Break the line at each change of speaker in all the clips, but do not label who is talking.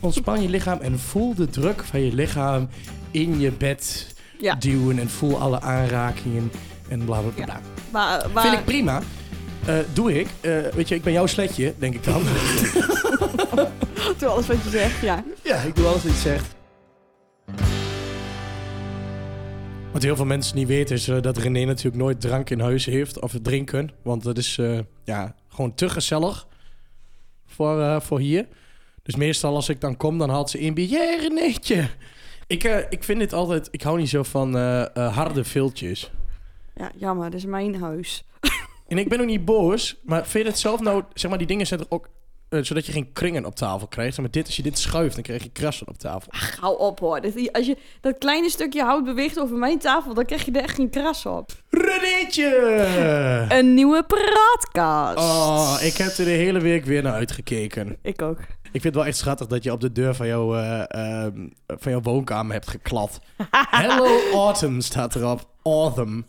Ontspan je lichaam en voel de druk van je lichaam in je bed
Ja.
duwen. En voel alle aanrakingen en bla bla bla. bla.
Maar, maar
Vind ik prima. Eh, doe ik. Eh, weet je, ik ben jouw sletje, denk ik dan.
doe alles wat je zegt, ja.
ja, ik doe alles wat je zegt. Wat heel veel mensen niet weten is eh, dat René natuurlijk nooit drank in huis heeft of drinken. Want dat is eh, ja, gewoon te gezellig voor, eh, voor hier. Dus meestal als ik dan kom, dan haalt ze in bier. Jee, Renéetje! Ik, eh, ik vind dit altijd... Ik hou niet zo van eh, eh, harde viltjes.
Ja, jammer, dat is mijn huis.
En ik ben ook niet boos, maar vind je het zelf nou... Zeg maar, die dingen zijn er ook... eh, zodat je geen kringen op tafel krijgt. Maar dit, als je dit schuift, dan krijg je krassen op tafel.
Ach, hou op hoor. Dat, als je dat kleine stukje hout beweegt over mijn tafel, dan krijg je er echt geen kras op.
Renéetje!
Een nieuwe praatkast.
Oh, ik heb er de hele week weer naar uitgekeken.
Ik ook.
Ik vind het wel echt schattig dat je op de deur van jouw, eh, ehm, van jouw woonkamer hebt geklad. Hello Autumn staat erop. Autumn.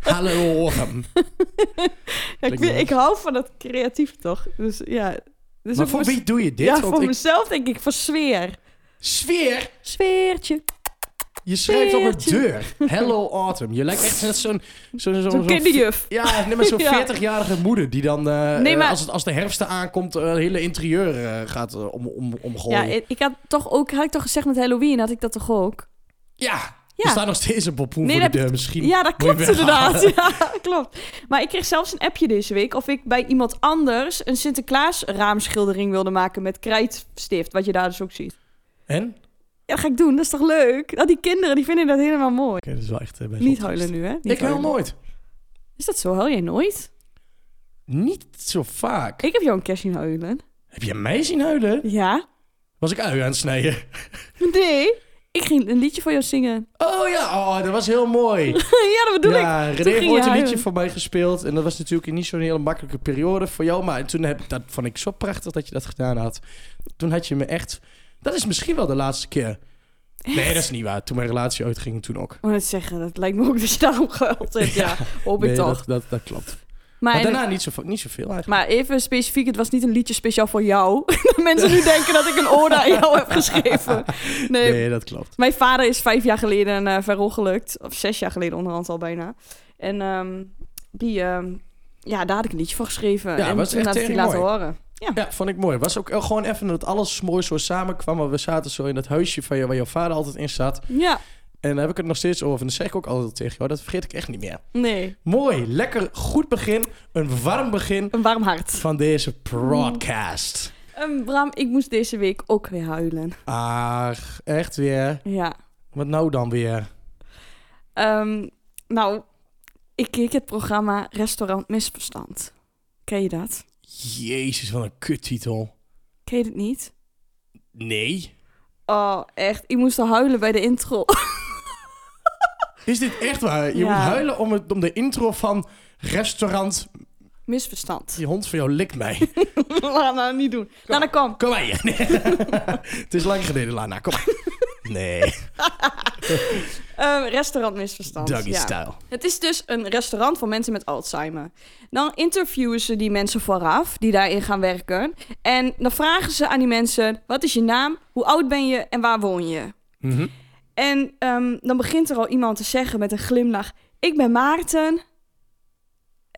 Hallo Autumn.
Ja, ik,
Klinkt
vind-
nice.
ik hou van dat creatief toch? Dus ja. Dus
Maar
ook
voor
mez-
wie doe je dit?
Ja,
Want
voor
ik-
mezelf denk ik, voor sfeer.
Sfeer!
Sfeertje.
Je schrijft op een
Sfeertje.
deur. Hello Autumn. Je lijkt echt net zo'n... Zo'n zo,
Zo'n kinderjuf.
Ja, nee, maar zo'n
Ja.
40-jarige moeder die dan, eh,
Nee,
eh,
maar-
als, het, als de herfst aankomt, eh, het hele interieur eh, gaat eh, om, om,
Ja,
omgooien. Ja,
ik, ik had toch ook, had ik toch gezegd met Halloween, had ik dat toch ook?
er
Ja.
staat nog steeds een pompoen
Nee,
voor de
dat-
deur misschien.
Ja, dat
moet je
klopt
weghalen.
inderdaad. Ja, klopt. Maar ik kreeg zelfs een appje deze week of ik bij iemand anders een Sinterklaas raamschildering wilde maken met krijtstift, wat je daar dus ook ziet.
En? Oké,
Ja, dat ga ik doen. Dat is toch leuk? Dat die kinderen, die vinden dat helemaal mooi.
dat is wel echt eh, best
Niet
wel
huilen
triest.
nu, hè? Niet
Ik huil
huilen.
nooit.
Is dat zo? Huil jij nooit?
Niet zo vaak.
Ik heb jou een kerst zien huilen.
Heb je mij zien huilen?
Ja?
Was ik ui aan het snijden?
Nee. Ik ging een liedje voor jou zingen.
Oh ja, oh, dat was heel mooi.
ja, dat bedoel ik.
ja, René heeft
ging
ooit
je
een liedje
huilen.
voor mij gespeeld. En dat was natuurlijk niet zo'n hele makkelijke periode voor jou. Maar toen heb ik dat, vond ik zo prachtig dat je dat gedaan had. Toen had je me echt... Dat is misschien wel de laatste keer. Nee, dat is niet waar. Toen mijn relatie uitging, toen ook.
Ik het zeggen, dat lijkt me ook dat je daarom gehuild hebt. Ja, hoop ik
nee,
toch.
Dat, dat, dat klopt.
Maar,
Maar,
en-
daarna niet, zo, niet zoveel eigenlijk.
maar even specifiek, het was niet een liedje speciaal voor jou. Dat mensen nu denken dat ik een ode aan jou heb geschreven. Nee,
Nee, dat klopt.
Mijn vader is vijf jaar geleden eh verongelukt. Of zes jaar geleden onderhand al bijna. En ehm, die, ehm, ja, daar had ik een liedje voor geschreven.
Ja,
en
was
toen
echt
had ik die
tering
laten
mooi.
horen.
Ja, vond ik mooi. Was ook eh, gewoon even dat alles mooi zo samenkwam. Want we zaten zo in dat huisje van je, waar jouw vader altijd in zat.
Ja,
En daar heb ik het nog steeds over. En dat zeg ik ook altijd tegen jou. Dat vergeet ik echt niet meer.
nee.
Mooi, lekker, goed begin. Een warm begin
Een warm hart.
van deze podcast.
Ehm, Bram, ik moest deze week ook weer huilen.
Ach, Ah, echt weer.
Ja.
Wat nou dan weer?
Ehm, nou, ik keek het programma Restaurant Misverstand. Ken je dat?
Jezus, wat een kuttitel.
Ken je het niet?
Nee.
Oh, echt. Ik moest al huilen bij de intro.
Is dit echt waar? Je
Ja.
moet huilen om, het, om de intro van restaurant...
Misverstand.
Die hond van jou likt mij.
Laat nou niet doen. Nou, dan kom.
Kom maar hier. Nee. het is lang geleden, Lana. Kom maar. Nee,
Ehm, restaurant Misverstand.
doggy
ja.
style.
Het is dus een restaurant voor mensen met Alzheimer. Dan interviewen ze die mensen vooraf die daarin gaan werken. En dan vragen ze aan die mensen: wat is je naam, hoe oud ben je en waar woon je?
Mhm.
En ehm, dan begint er al iemand te zeggen met een glimlach: Ik ben Maarten.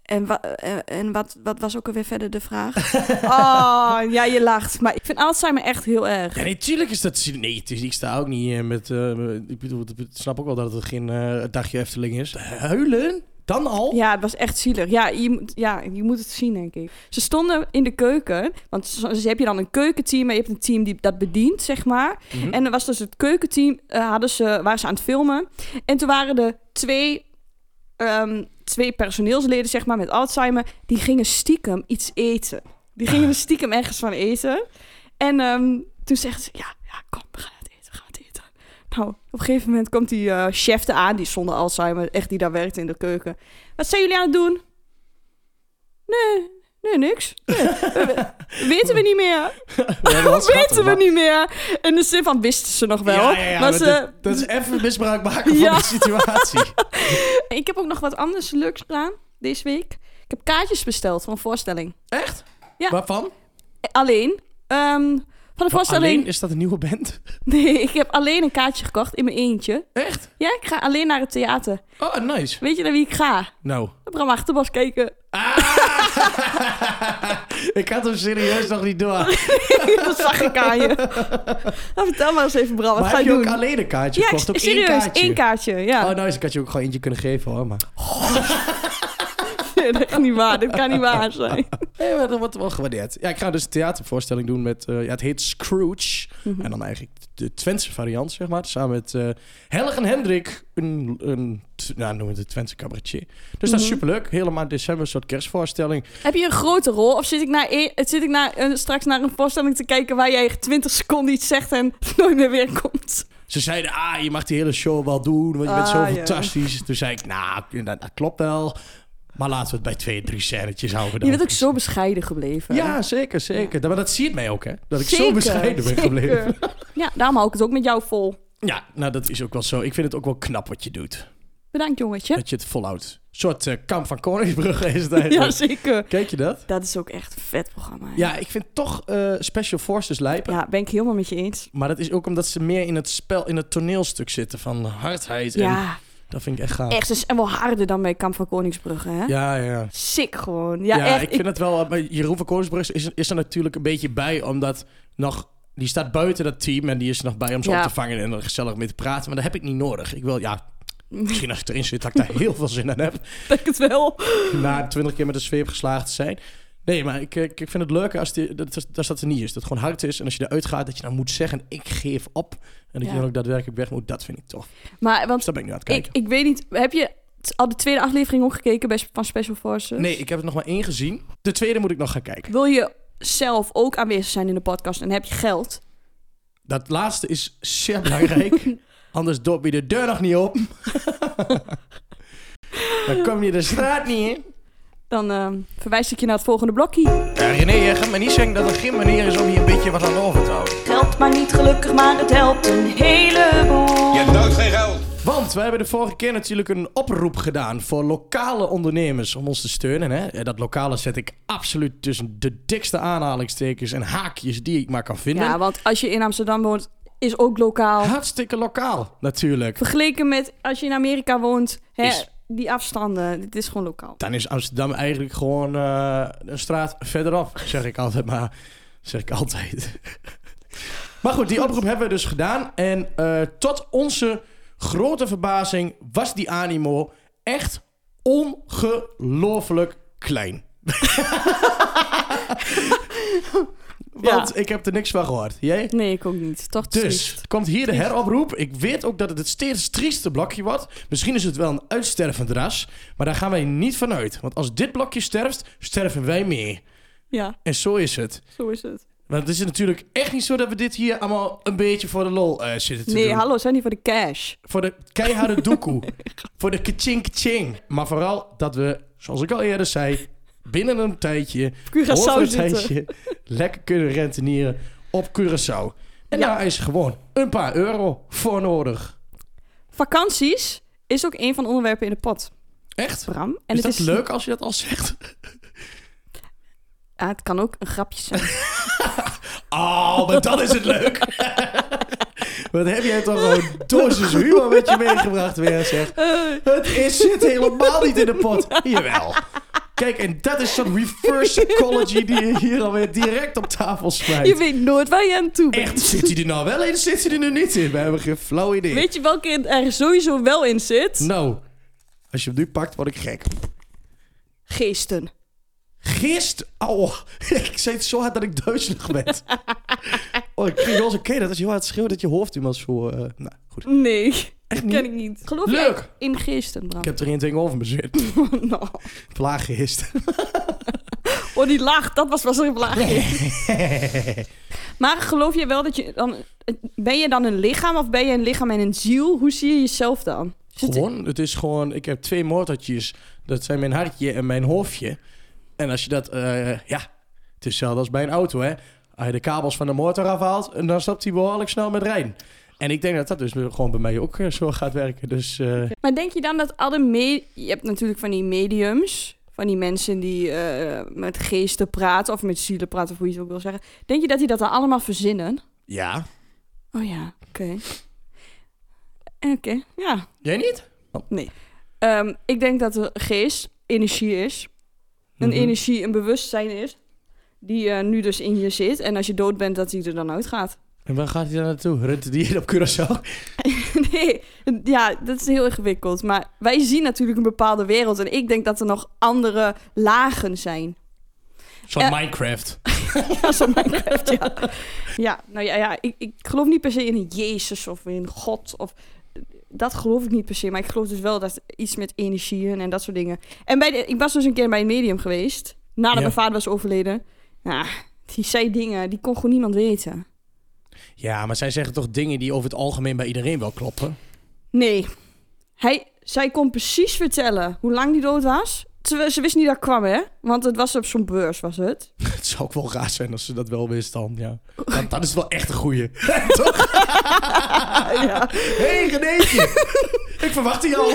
En, wa- eh, en wat, wat was ook alweer verder de vraag? oh, ja, je lacht. Maar ik vind Alzheimer echt heel erg.
Ja, natuurlijk is dat. Nee, het is, ik sta ook niet eh, met. eh, ik bedoel, ik snap ook wel dat het geen eh, dagje Efteling is. Huilen? Dan al?
Ja, het was echt zielig. Ja je, moet, ja, je moet het zien, denk ik. Ze stonden in de keuken. Want zo- dus heb je dan een keukenteam en je hebt een team die dat bedient, zeg maar.
Mhm.
En er was dus het keukenteam, eh, hadden ze, waren ze aan het filmen. En toen waren er twee, ehm, twee personeelsleden, zeg maar, met Alzheimer. Die gingen stiekem iets eten. Die
Ah.
gingen er stiekem ergens van eten. En ehm, toen zegt ze, ja, ja, kom, we gaan het eten, we gaan het eten. Nou, op een gegeven moment komt die eh chef aan, die zonder Alzheimer, echt die daar werkt in de keuken. Wat zijn jullie aan het doen? Nee, nee, niks. Nee. We- weten we niet meer.
We hebben wel schattig,
Weten we
maar-
niet meer. In de zin van wisten ze nog wel.
Ja, ja, ja,
maar
maar
ze-
dat, dat is even misbruik maken
Ja.
van de situatie.
Ik heb ook nog wat anders leuks gedaan deze week. Ik heb kaartjes besteld voor een voorstelling.
Echt?
Ja.
Waarvan?
Alleen, ehm, Hadden vast alleen...
Alleen is dat een nieuwe band.
Nee, ik heb alleen een kaartje gekocht in mijn eentje.
Echt?
Ja, ik ga alleen naar het theater.
Oh, nice.
Weet je naar wie ik ga?
Nou.
Naar Bram Achterbos kijken.
Ah! ik had hem serieus nog niet door.
dat zag ik aan je. Nou, vertel maar eens even, Bram. Wat
maar
ga
heb
je
je
doen?
ook alleen een kaartje
ja,
gekocht? Op
serieus,
één kaartje?
kaartje. Ja,
Oh, nice. Ik had je ook gewoon eentje kunnen geven, hoor. Maar...
Nee, dat is niet waar. Dat kan niet waar zijn.
Nee, maar dat wordt wel gewaardeerd. Ja, ik ga dus een theatervoorstelling doen met... eh, ja, het heet Scrooge.
Mhm.
En dan eigenlijk de Twentse variant, zeg maar. Samen met eh Helg en Hendrik. Een, een t- nou, noemen we het een Twentse cabaretier. Dus dat is
Mhm.
superleuk. Helemaal in december een soort kerstvoorstelling.
Heb je een grote rol? Of zit ik, naar e- zit ik naar, een- straks naar een voorstelling te kijken waar jij 20 seconden iets zegt en nooit meer weer komt?
Ze zeiden, ah, je mag die hele show wel doen, want je bent
Ah,
zo
ja.
fantastisch. Toen zei ik, nou, dat, dat klopt wel. Maar laten we het bij twee, drie scènetjes houden.
Je
Dan.
bent ook zo bescheiden gebleven.
Ja, zeker, zeker. Maar dat ziet mij ook, hè. Dat ik zo
Zeker,
bescheiden ben
zeker.
gebleven.
Ja, daarom hou ik het ook met jou vol.
Ja, nou, dat is ook wel zo. Ik vind het ook wel knap wat je doet.
Bedankt, jongetje.
Dat je het volhoudt. Een soort eh, kamp van Koningsbrugge is het eigenlijk.
Ja, zeker.
Kijk je dat?
Dat is ook echt een vet programma. hè.
Ja, ik vind toch eh, Special Forces lijpen.
Ja, ben ik helemaal met je eens.
Maar dat is ook omdat ze meer in het spel, in het toneelstuk zitten van hardheid. En
Ja,
dat vind ik echt gaaf.
echt. ze zijn En wel harder dan bij Kamp van Koningsbrugge, hè?
Ja, ja.
Sick gewoon.
Ja,
Ja, echt.
ik vind het wel... Maar Jeroen van Koningsbrugge is, is er natuurlijk een beetje bij, omdat nog... Die staat buiten dat team en die is nog bij om ze
Ja.
op te vangen en er gezellig mee te praten. Maar dat heb ik niet nodig. Ik wil, ja, misschien als ik erin zit, dat ik daar heel veel zin in heb.
ik denk het wel.
na twintig keer met een zweep geslaagd te zijn. Nee, maar ik, ik ik vind het leuker als, die, dat, dat, dat er niet is. Dat het gewoon hard is. En als je eruit gaat, dat je dan moet zeggen, ik geef op. En dat
Ja.
je dan ook daadwerkelijk weg moet. Dat vind ik tof.
Maar,
Dus
want
daar ben ik nu aan het
ik,
kijken.
ik weet niet, heb je t- al de tweede aflevering opgekeken bij, van Special Forces?
nee, ik heb er nog maar één gezien. De tweede moet ik nog gaan kijken.
Wil je zelf ook aanwezig zijn in de podcast en heb je geld?
Dat laatste is zeer belangrijk. Anders doop je de deur nog niet op. dan kom je de straat niet in.
Dan ehm, verwijs ik je naar het volgende blokje.
Ja, René, jij gaat me niet zeggen dat er geen manier is om hier een beetje wat aan over te houden.
Geld maakt niet gelukkig, maar het helpt een heleboel.
Je hebt nooit geen geld.
Want wij hebben de vorige keer natuurlijk een oproep gedaan voor lokale ondernemers om ons te steunen. Hè? En Dat lokale zet ik absoluut tussen de dikste aanhalingstekens en haakjes die ik maar kan vinden.
Ja, want als je in Amsterdam woont, is ook lokaal.
Hartstikke lokaal, natuurlijk.
Vergeleken met als je in Amerika woont, hè,
Is-
die afstanden, dit is gewoon lokaal.
Dan is Amsterdam eigenlijk gewoon eh, een straat verderop, zeg ik altijd maar. Zeg ik altijd. Maar goed, die oproep hebben we dus gedaan. En eh, tot onze grote verbazing was die animo echt ongelooflijk klein. Want ik heb er niks van gehoord. Jij?
Nee, ik ook niet. Toch
Dus,
triest.
komt hier de heroproep. Ik weet ook dat het het steeds trieste blokje wordt. Misschien is het wel een uitstervend ras. Maar daar gaan wij niet van uit. Want als dit blokje sterft, sterven wij mee.
Ja,
En zo is het.
zo is het.
Want het is natuurlijk echt niet zo dat we dit hier allemaal een beetje voor de lol eh, zitten te
Nee,
doen.
hallo, zijn die voor de cash?
Voor de keiharde doekoe. voor de kaching kaching. Maar vooral dat we, zoals ik al eerder zei, binnen een tijdje,
Curaçao
over een
zitten.
tijdje, lekker kunnen rentenieren op Curaçao. En
Ja.
daar is gewoon een paar euro voor nodig.
Vakanties is ook een van de onderwerpen in de pot,
Echt?
Bram. En
is
het
dat leuk als je dat al zegt?
Ah, het kan ook een grapje zijn.
Oh, maar dan is het leuk. Wat heb jij toch gewoon dosis humor met je meegebracht weer, zeg. Het is, zit helemaal niet in de pot. Jawel. Kijk, en dat is zo'n reverse psychology die je hier alweer direct op tafel
je
smijt.
weet nooit waar je aan toe bent.
Echt, zit hij er nou wel in? Zit hij er nu niet in? We hebben geen flauw idee.
Weet je welke er sowieso wel in zit?
Nou, als je hem nu pakt, word ik gek.
Geesten.
Gist. Oh, ik zei het zo hard dat ik duizelig ben. oh, ik kreeg wel eens een keer dat als je heel hard schreeuwt dat je hoofd iemand zo... eh, nou, goed.
Nee,
Echt
ken ik niet. Geloof
Leuk.
jij in geesten, Bram?
Ik heb er geen ding over me zitten.
Nou,
Plaaggehist.
Oh, die laag, dat was wel zo'n laagje. maar geloof je wel dat je dan... Ben je dan een lichaam of ben je een lichaam en een ziel? Hoe zie je jezelf dan? Is het-
gewoon, het is gewoon... Ik heb twee motortjes. Dat zijn mijn hartje en mijn hoofdje. En als je dat... eh, ja, het is hetzelfde als bij een auto, hè. Als je de kabels van de motor afhaalt, en dan stopt hij behoorlijk snel met rijden. En ik denk dat dat dus gewoon bij mij ook eh, zo gaat werken. Dus eh,
Maar denk je dan dat alle me- Je hebt natuurlijk van die mediums. van van die mensen die eh, met geesten praten of met zielen praten, of hoe je het ook wil zeggen. Denk je dat die dat dan allemaal verzinnen?
Ja.
Oh ja, oké. Oké, ja.
Jij niet?
Ehm, ik denk dat de geest energie is. Een
Mhm.
energie, een bewustzijn is. Die eh, nu dus in je zit. En als je dood bent, dat die er dan uitgaat.
En waar gaat hij dan naartoe? Runt die op Curaçao?
nee, ja, dat is heel ingewikkeld. Maar wij zien natuurlijk een bepaalde wereld. En ik denk dat er nog andere lagen zijn.
Zo'n
Ja.
Minecraft.
Ja, zo Minecraft, ja. Ja, nou ja, ja ik, ik geloof niet per se in een Jezus of in God. Of, dat geloof ik niet per se. Maar ik geloof dus wel dat iets met energieën en dat soort dingen. En bij de, ik was dus een keer bij een medium geweest. Nadat
Ja.
mijn vader was overleden. Nou, die zei dingen, die kon gewoon niemand weten.
Ja, maar zij zeggen toch dingen die over het algemeen bij iedereen wel kloppen?
Nee. Hij, zij kon precies vertellen hoe lang die dood was. Terwijl ze wist niet dat het kwam, hè? Want het was op zo'n beurs, was het.
Het zou ook wel raar zijn als ze dat wel wist dan, ja. Dat, dat is wel echt een goeie. toch?
ja.
Hé, hey, Renéetje. Ik verwacht die al.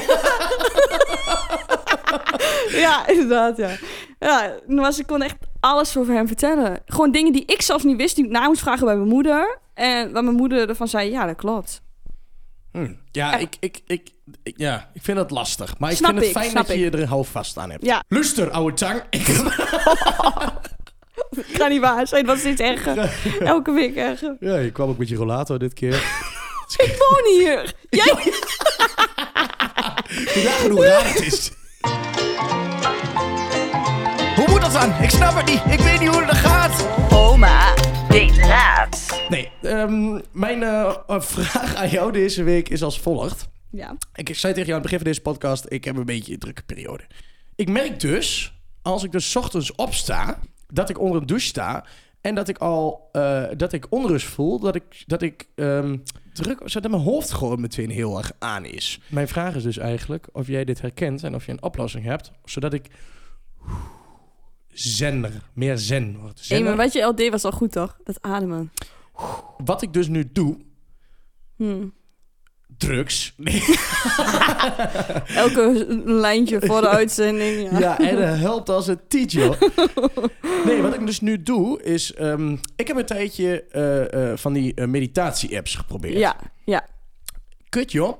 ja, inderdaad, ja. Ja, maar ze kon echt alles over hem vertellen. Gewoon dingen die ik zelfs niet wist, die ik na moest vragen bij mijn moeder. En waar mijn moeder ervan zei, ja, dat klopt.
Hm. Ja, ik, ik, ik, ik- ja, ik vind dat lastig. Maar ik
Snap
vind het
ik,
fijn
snap
dat je je er houvast aan hebt.
Ja,
Luister, ouwe tang.
kan niet waar zijn, dat is steeds erger. Elke week erger.
ja, je kwam ook met je rollator dit keer.
Ik woon hier. Jij...
Ja, hoe raar het is.
Hoe moet dat dan? Ik snap het niet. Ik weet niet hoe dat gaat.
Oma, deed raad.
Nee, ehm, mijn eh, vraag aan jou deze week is als volgt.
Ja,
Ik zei tegen jou aan het begin van deze podcast, ik heb een beetje een drukke periode. Ik merk dus, als ik dus 's ochtends opsta, dat ik onder een douche sta en dat ik al, eh, dat ik onrust voel, dat ik, dat ik ehm, druk, dat mijn hoofd gewoon meteen heel erg aan is. Mijn vraag is dus eigenlijk of jij dit herkent en of je een oplossing hebt, zodat ik zenner, meer zen word.
hey,
Zenner.
maar wat je al deed was al goed, toch? Dat ademen.
Wat ik dus nu doe,
Hm.
drugs. Nee.
Elke lijntje voor de uitzending, ja.
Ja, en dat helpt als een tiet, joh. Nee, wat ik dus nu doe is... ehm, ik heb een tijdje eh, eh, van die eh, meditatie-apps geprobeerd.
Ja, ja.
Kut, joh.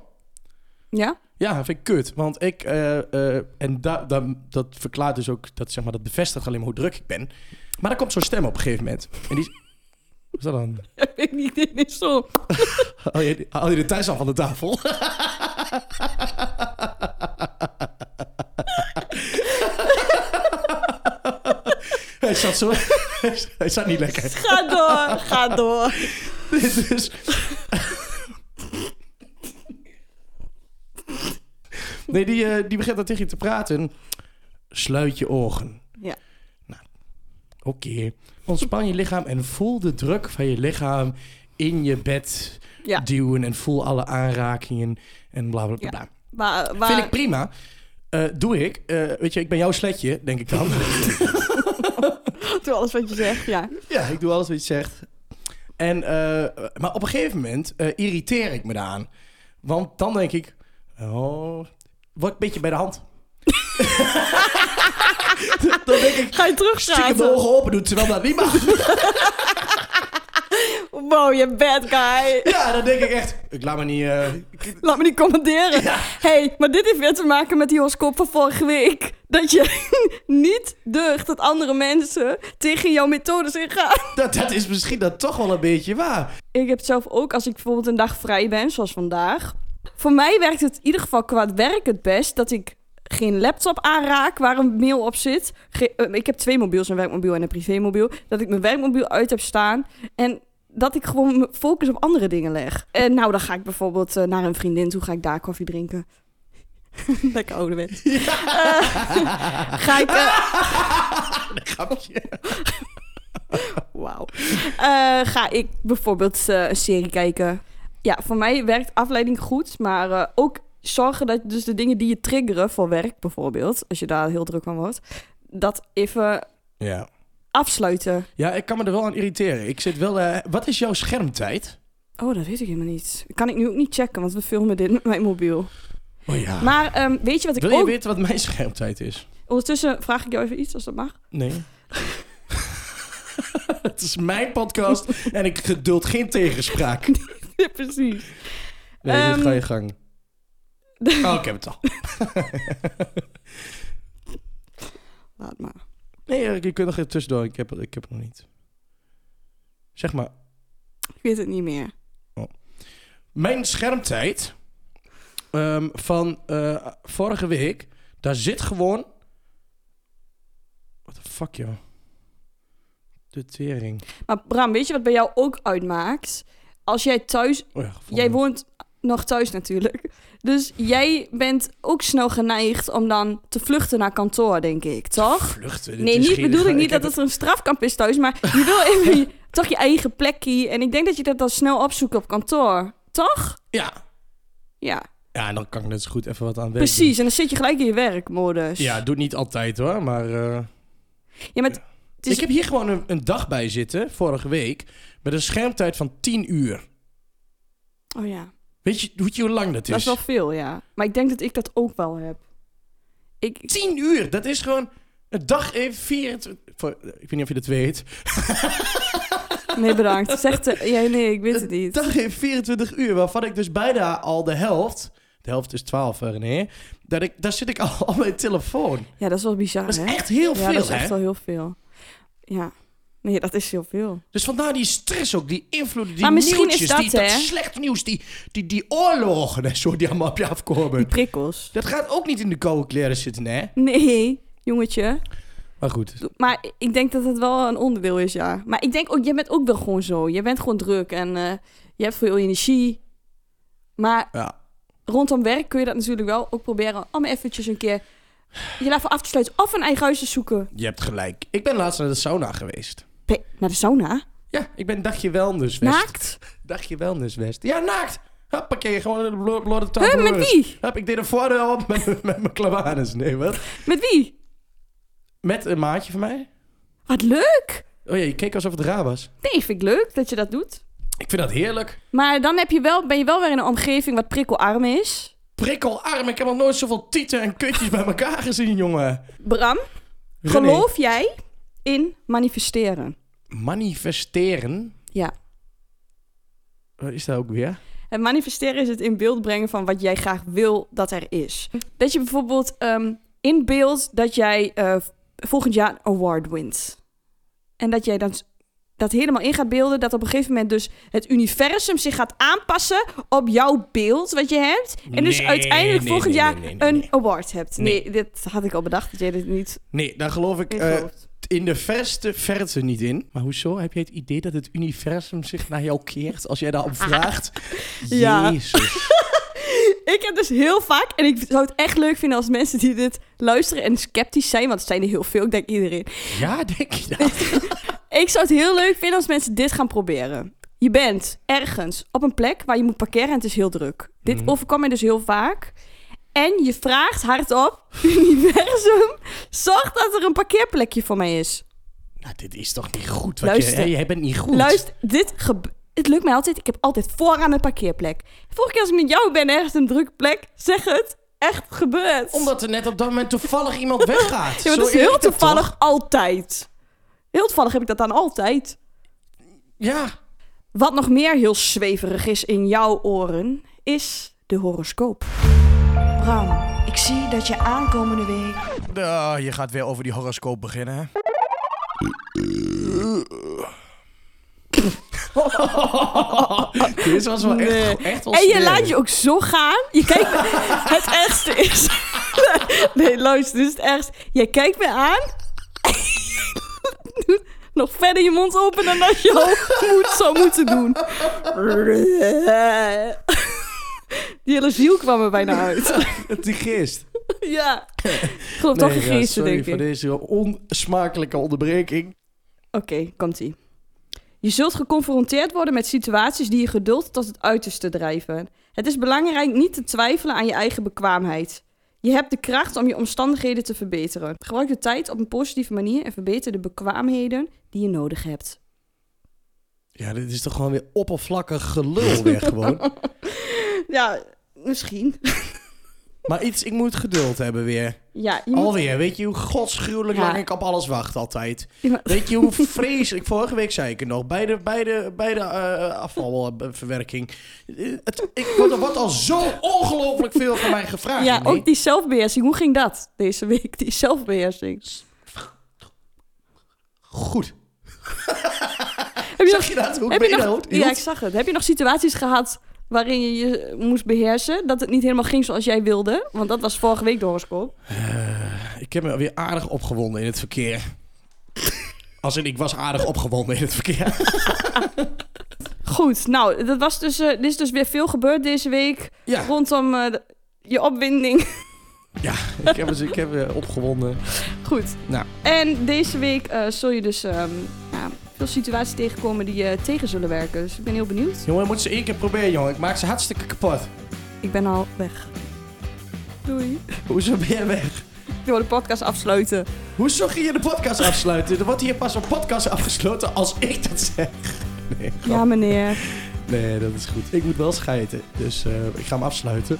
Ja?
Ja, vind ik kut. Want ik... eh, eh, en da, da- dat verklaart dus ook... Dat, zeg maar, dat bevestigt alleen maar hoe druk ik ben. Maar er komt zo'n stem op een gegeven moment. En die... Wat is dat dan?
Ik weet niet, dit is zo.
Haal je, haal je de thuis al van de tafel? hij zat zo... hij zat niet lekker.
Ga door, ga door.
Dit is... nee, die, eh, die begint dan tegen je te praten. Sluit je ogen.
Ja.
Nou, oké. Ontspan je lichaam en voel de druk van je lichaam in je bed
Ja.
duwen. En voel alle aanrakingen en bla bla bla.
Ja.
bla.
Maar, maar...
Vind ik prima. Eh, doe ik. Eh, weet je, ik ben jouw sletje, denk ik dan.
Doe alles wat je zegt, ja.
Ja, ik doe alles wat je zegt. En, eh, maar op een gegeven moment eh, irriteer ik me daaraan. Want dan denk ik, oh, word ik een beetje bij de hand. dan denk ik,
Ga je
stiekem mijn
terugschrijven?
ogen open doen, terwijl dat niet mag.
Wow, je bad guy.
ja, dan denk ik echt, ik laat me niet... eh, ik-
Laat me niet commanderen. hey, maar dit heeft weer te maken met die horoscoop van vorige week. Dat je niet deugt dat andere mensen tegen jouw methodes ingaan.
dat, dat is misschien dan toch wel een beetje waar.
Ik heb het zelf ook, als ik bijvoorbeeld een dag vrij ben, zoals vandaag. Voor mij werkt het in ieder geval qua het werk het best dat ik geen laptop aanraak waar een mail op zit. Ge- eh, ik heb twee mobiels, een werkmobiel en een privémobiel. Dat ik mijn werkmobiel uit heb staan en dat ik gewoon mijn focus op andere dingen leg. En nou, dan ga ik bijvoorbeeld eh, naar een vriendin toe, ga ik daar koffie drinken. Lekker ouderwets. Eh ga ik... eh,
Grapje.
Wauw. Eh, ga ik bijvoorbeeld eh, een serie kijken. Ja, voor mij werkt afleiding goed, maar eh, ook zorgen dat dus de dingen die je triggeren voor werk bijvoorbeeld, als je daar heel druk van wordt, dat even
Ja.
afsluiten.
ja, ik kan me er wel aan irriteren. Ik zit wel... eh, wat is jouw schermtijd?
Oh, dat weet ik helemaal niet. Kan ik nu ook niet checken, want we filmen dit met mijn mobiel.
Oh ja.
Maar ehm, weet je wat ik
Wil je
ook...
weten wat mijn schermtijd is?
Ondertussen vraag ik jou even iets, als dat mag.
Nee. het is mijn podcast en ik geduld geen tegenspraak.
Ja, Precies.
Nee, dit
Ehm,
ga je gang. Oh, ik heb het al.
Laat maar.
Nee, Erik, je kunt nog even tussendoor. Ik heb, het- ik heb het nog niet. Zeg maar,
Ik weet het niet meer.
mijn schermtijd ehm, van eh, vorige week, daar zit gewoon... What the fuck, joh. De tering.
Maar Bram, weet je wat bij jou ook uitmaakt? Als jij thuis...
Oh ja,
Jij woont nog thuis natuurlijk. Dus jij bent ook snel geneigd om dan te vluchten naar kantoor, denk ik, toch?
Vluchten. dit
Nee,
is
niet,
geen-
bedoel ik niet
heb
dat het een strafkamp is thuis, maar je wil even je- toch je eigen plekje. En ik denk dat je dat dan snel opzoekt op kantoor, toch?
Ja.
Ja,
ja, en dan kan ik net zo goed even wat aan werken.
precies. En dan zit je gelijk in je werkmodus.
Ja, doet niet altijd hoor, maar... eh,
ja maar het- het is-
Ik heb hier gewoon een, een dag bij zitten, vorige week, met een schermtijd van 10 uur.
Oh ja,
Weet je, weet je hoe lang dat is?
dat is wel veel, ja. Maar ik denk dat ik dat ook wel heb. Ik, ik-
10 uur, dat is gewoon een dag even 24... voor- Ik weet niet of je dat weet.
nee, bedankt. Zeg de, ja, nee, ik weet het
Een
niet.
dag heeft 24 uur, waarvan ik dus bijna al de helft... De helft is 12, hè, René. Dat ik, daar zit ik al op mijn telefoon.
Ja, dat is wel bizar,
Dat is
hè?
echt heel
ja,
veel,
dat is
hè?
echt wel heel veel. Ja. Nee, dat is heel veel.
Dus vandaar die stress ook, die invloeden, die
Maar misschien is
nieuwtjes, die,
dat,
dat
hè?
slecht nieuws, die, die, die oorlogen en zo die allemaal op je
Die
afkomen.
prikkels.
Dat gaat ook niet in de koude kleren zitten, hè?
Nee, jongetje.
Maar goed,
Maar ik denk dat het wel een onderdeel is, ja. Maar ik denk ook, jij bent ook wel gewoon zo. Je bent gewoon druk en eh, je hebt veel energie. Maar
Ja.
rondom werk kun je dat natuurlijk wel ook proberen om eventjes een keer je daarvoor af te sluiten. Of een eigen huis te zoeken.
je hebt gelijk. Ik ben laatst naar de sauna geweest.
Pe- Naar de sauna?
Ja, ik ben dagje wellness west.
Naakt?
Dagje wellness west. Ja, naakt! Hoppakee, gewoon in de blo- blote tafel.
Huh, met wie?
Hup, ik deed een voordeel op met, met mijn klavanus. Nee, wat?
Met wie?
Met een maatje van mij.
Wat leuk!
Oh ja, je keek alsof het raar was.
Nee, vind ik leuk dat je dat doet.
Ik vind dat heerlijk.
Maar dan heb je wel, ben je wel weer in een omgeving wat prikkelarm is.
Prikkelarm, ik heb nog nooit zoveel tieten en kutjes bij elkaar gezien, jongen.
Bram,
René,
geloof jij in manifesteren?
Manifesteren.
Ja.
Wat is dat ook weer?
Het manifesteren is het in beeld brengen van wat jij graag wil dat er is. Dat je bijvoorbeeld ehm, in beeld dat jij eh, volgend jaar een award wint. En dat jij dan s- dat helemaal in gaat beelden. Dat op een gegeven moment dus het universum zich gaat aanpassen op jouw beeld wat je hebt. En dus
Nee,
uiteindelijk
nee,
volgend
nee,
jaar
nee, nee, nee,
een
nee.
award hebt. Nee.
Nee.
dit had ik al bedacht dat jij dit niet
Nee, daar geloof ik
in
eh,
gelooft.
in de verste verte niet in. Maar hoezo? Heb jij het idee dat het universum zich naar jou keert als jij daarop vraagt?
Ja.
Jezus.
Ik heb dus heel vaak, en ik zou het echt leuk vinden als mensen die dit luisteren en sceptisch zijn, want het zijn er heel veel, ik denk iedereen.
Ja, denk je dat?
Ik zou het heel leuk vinden als mensen dit gaan proberen. Je bent ergens op een plek waar je moet parkeren en het is heel druk. Dit
Mhm.
overkwam mij dus heel vaak. En je vraagt hardop, universum, zorg dat er een parkeerplekje voor mij is.
Nou, dit is toch niet goed? Wat
Luister.
Je, hè, jij bent niet goed.
Luister, dit gebe- het lukt mij altijd. Ik heb altijd vooraan een parkeerplek. Vorige keer als ik met jou ben ergens een drukke plek, zeg het, echt gebeurt.
Omdat er net op dat moment toevallig iemand weggaat.
Ja, maar
Zo
dat is heel
dat toch?
toevallig altijd. Heel toevallig heb ik dat dan altijd.
Ja.
Wat nog meer heel zweverig is in jouw oren, is de horoscoop. Bram, ik zie dat je aankomende week...
Oh, je gaat weer over die horoscoop beginnen. hè?
Dit was wel
Nee.
Oh, echt, echt wel
En je
smerig.
laat je ook zo gaan. Je kijkt me... het ergste is... nee, luister, dit is het ergste. Jij kijkt me aan... Doet nog verder je mond open dan dat je al moet, zou moeten doen. Die hele ziel kwam er bijna uit.
Die geest.
ja. Ik geloof toch
Nee, ja,
gegisten,
sorry
denk ik.
voor deze onsmakelijke onderbreking.
Oké, komt-ie. Je zult geconfronteerd worden met situaties die je geduld tot het uiterste drijven. Het is belangrijk niet te twijfelen aan je eigen bekwaamheid. Je hebt de kracht om je omstandigheden te verbeteren. Gebruik de tijd op een positieve manier en verbeter de bekwaamheden die je nodig hebt.
Ja, dit is toch gewoon weer oppervlakkig gelul weer gewoon.
Ja, misschien.
Maar iets, ik moet geduld hebben weer.
Ja, je moet...
Alweer, weet je hoe godsgruwelijk
Ja.
lang ik op alles wacht altijd.
je moet-
Weet je hoe vreselijk, vorige week zei ik het nog, bij de, bij de, bij de eh, afvalverwerking. Eh, Het, ik, word- er wordt al zo ongelooflijk veel van mij gevraagd.
Ja,
nee.
ook die zelfbeheersing. Hoe ging dat deze week, die zelfbeheersing?
Goed.
Heb je
Zag je dat? Hoe ik
heb je
ben
nog, ja, ik zag het. Heb je nog situaties gehad waarin je je moest beheersen? Dat het niet helemaal ging zoals jij wilde? Want dat was vorige week de horoscoop.
Ik heb me weer aardig opgewonden in het verkeer. Als in, ik was aardig opgewonden in het verkeer.
Goed, nou, dat was dus, eh, er is dus weer veel gebeurd deze week
Ja,
rondom eh, de- je opwinding.
ik heb, dus, ik heb eh, opgewonden.
Goed.
Nou.
En deze week eh, zul je dus ehm, ja, veel situaties tegenkomen die je tegen zullen werken. Dus ik ben heel benieuwd.
Jongen, je moet ze één keer proberen, jongen. Ik maak ze hartstikke kapot.
Ik ben al weg. Doei.
Hoezo ben jij weg?
Ik wil de podcast afsluiten.
Hoezo ging je de podcast afsluiten? Er wordt hier pas een podcast afgesloten als ik dat zeg. Nee, grap.
Ja, meneer.
nee dat is goed. Ik moet wel scheiden, dus eh, ik ga hem afsluiten.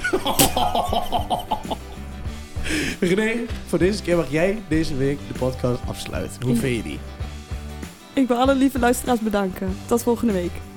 René, voor deze keer mag jij deze week de podcast afsluiten. Hoe vind je die?
Ik wil alle lieve luisteraars bedanken. Tot volgende week.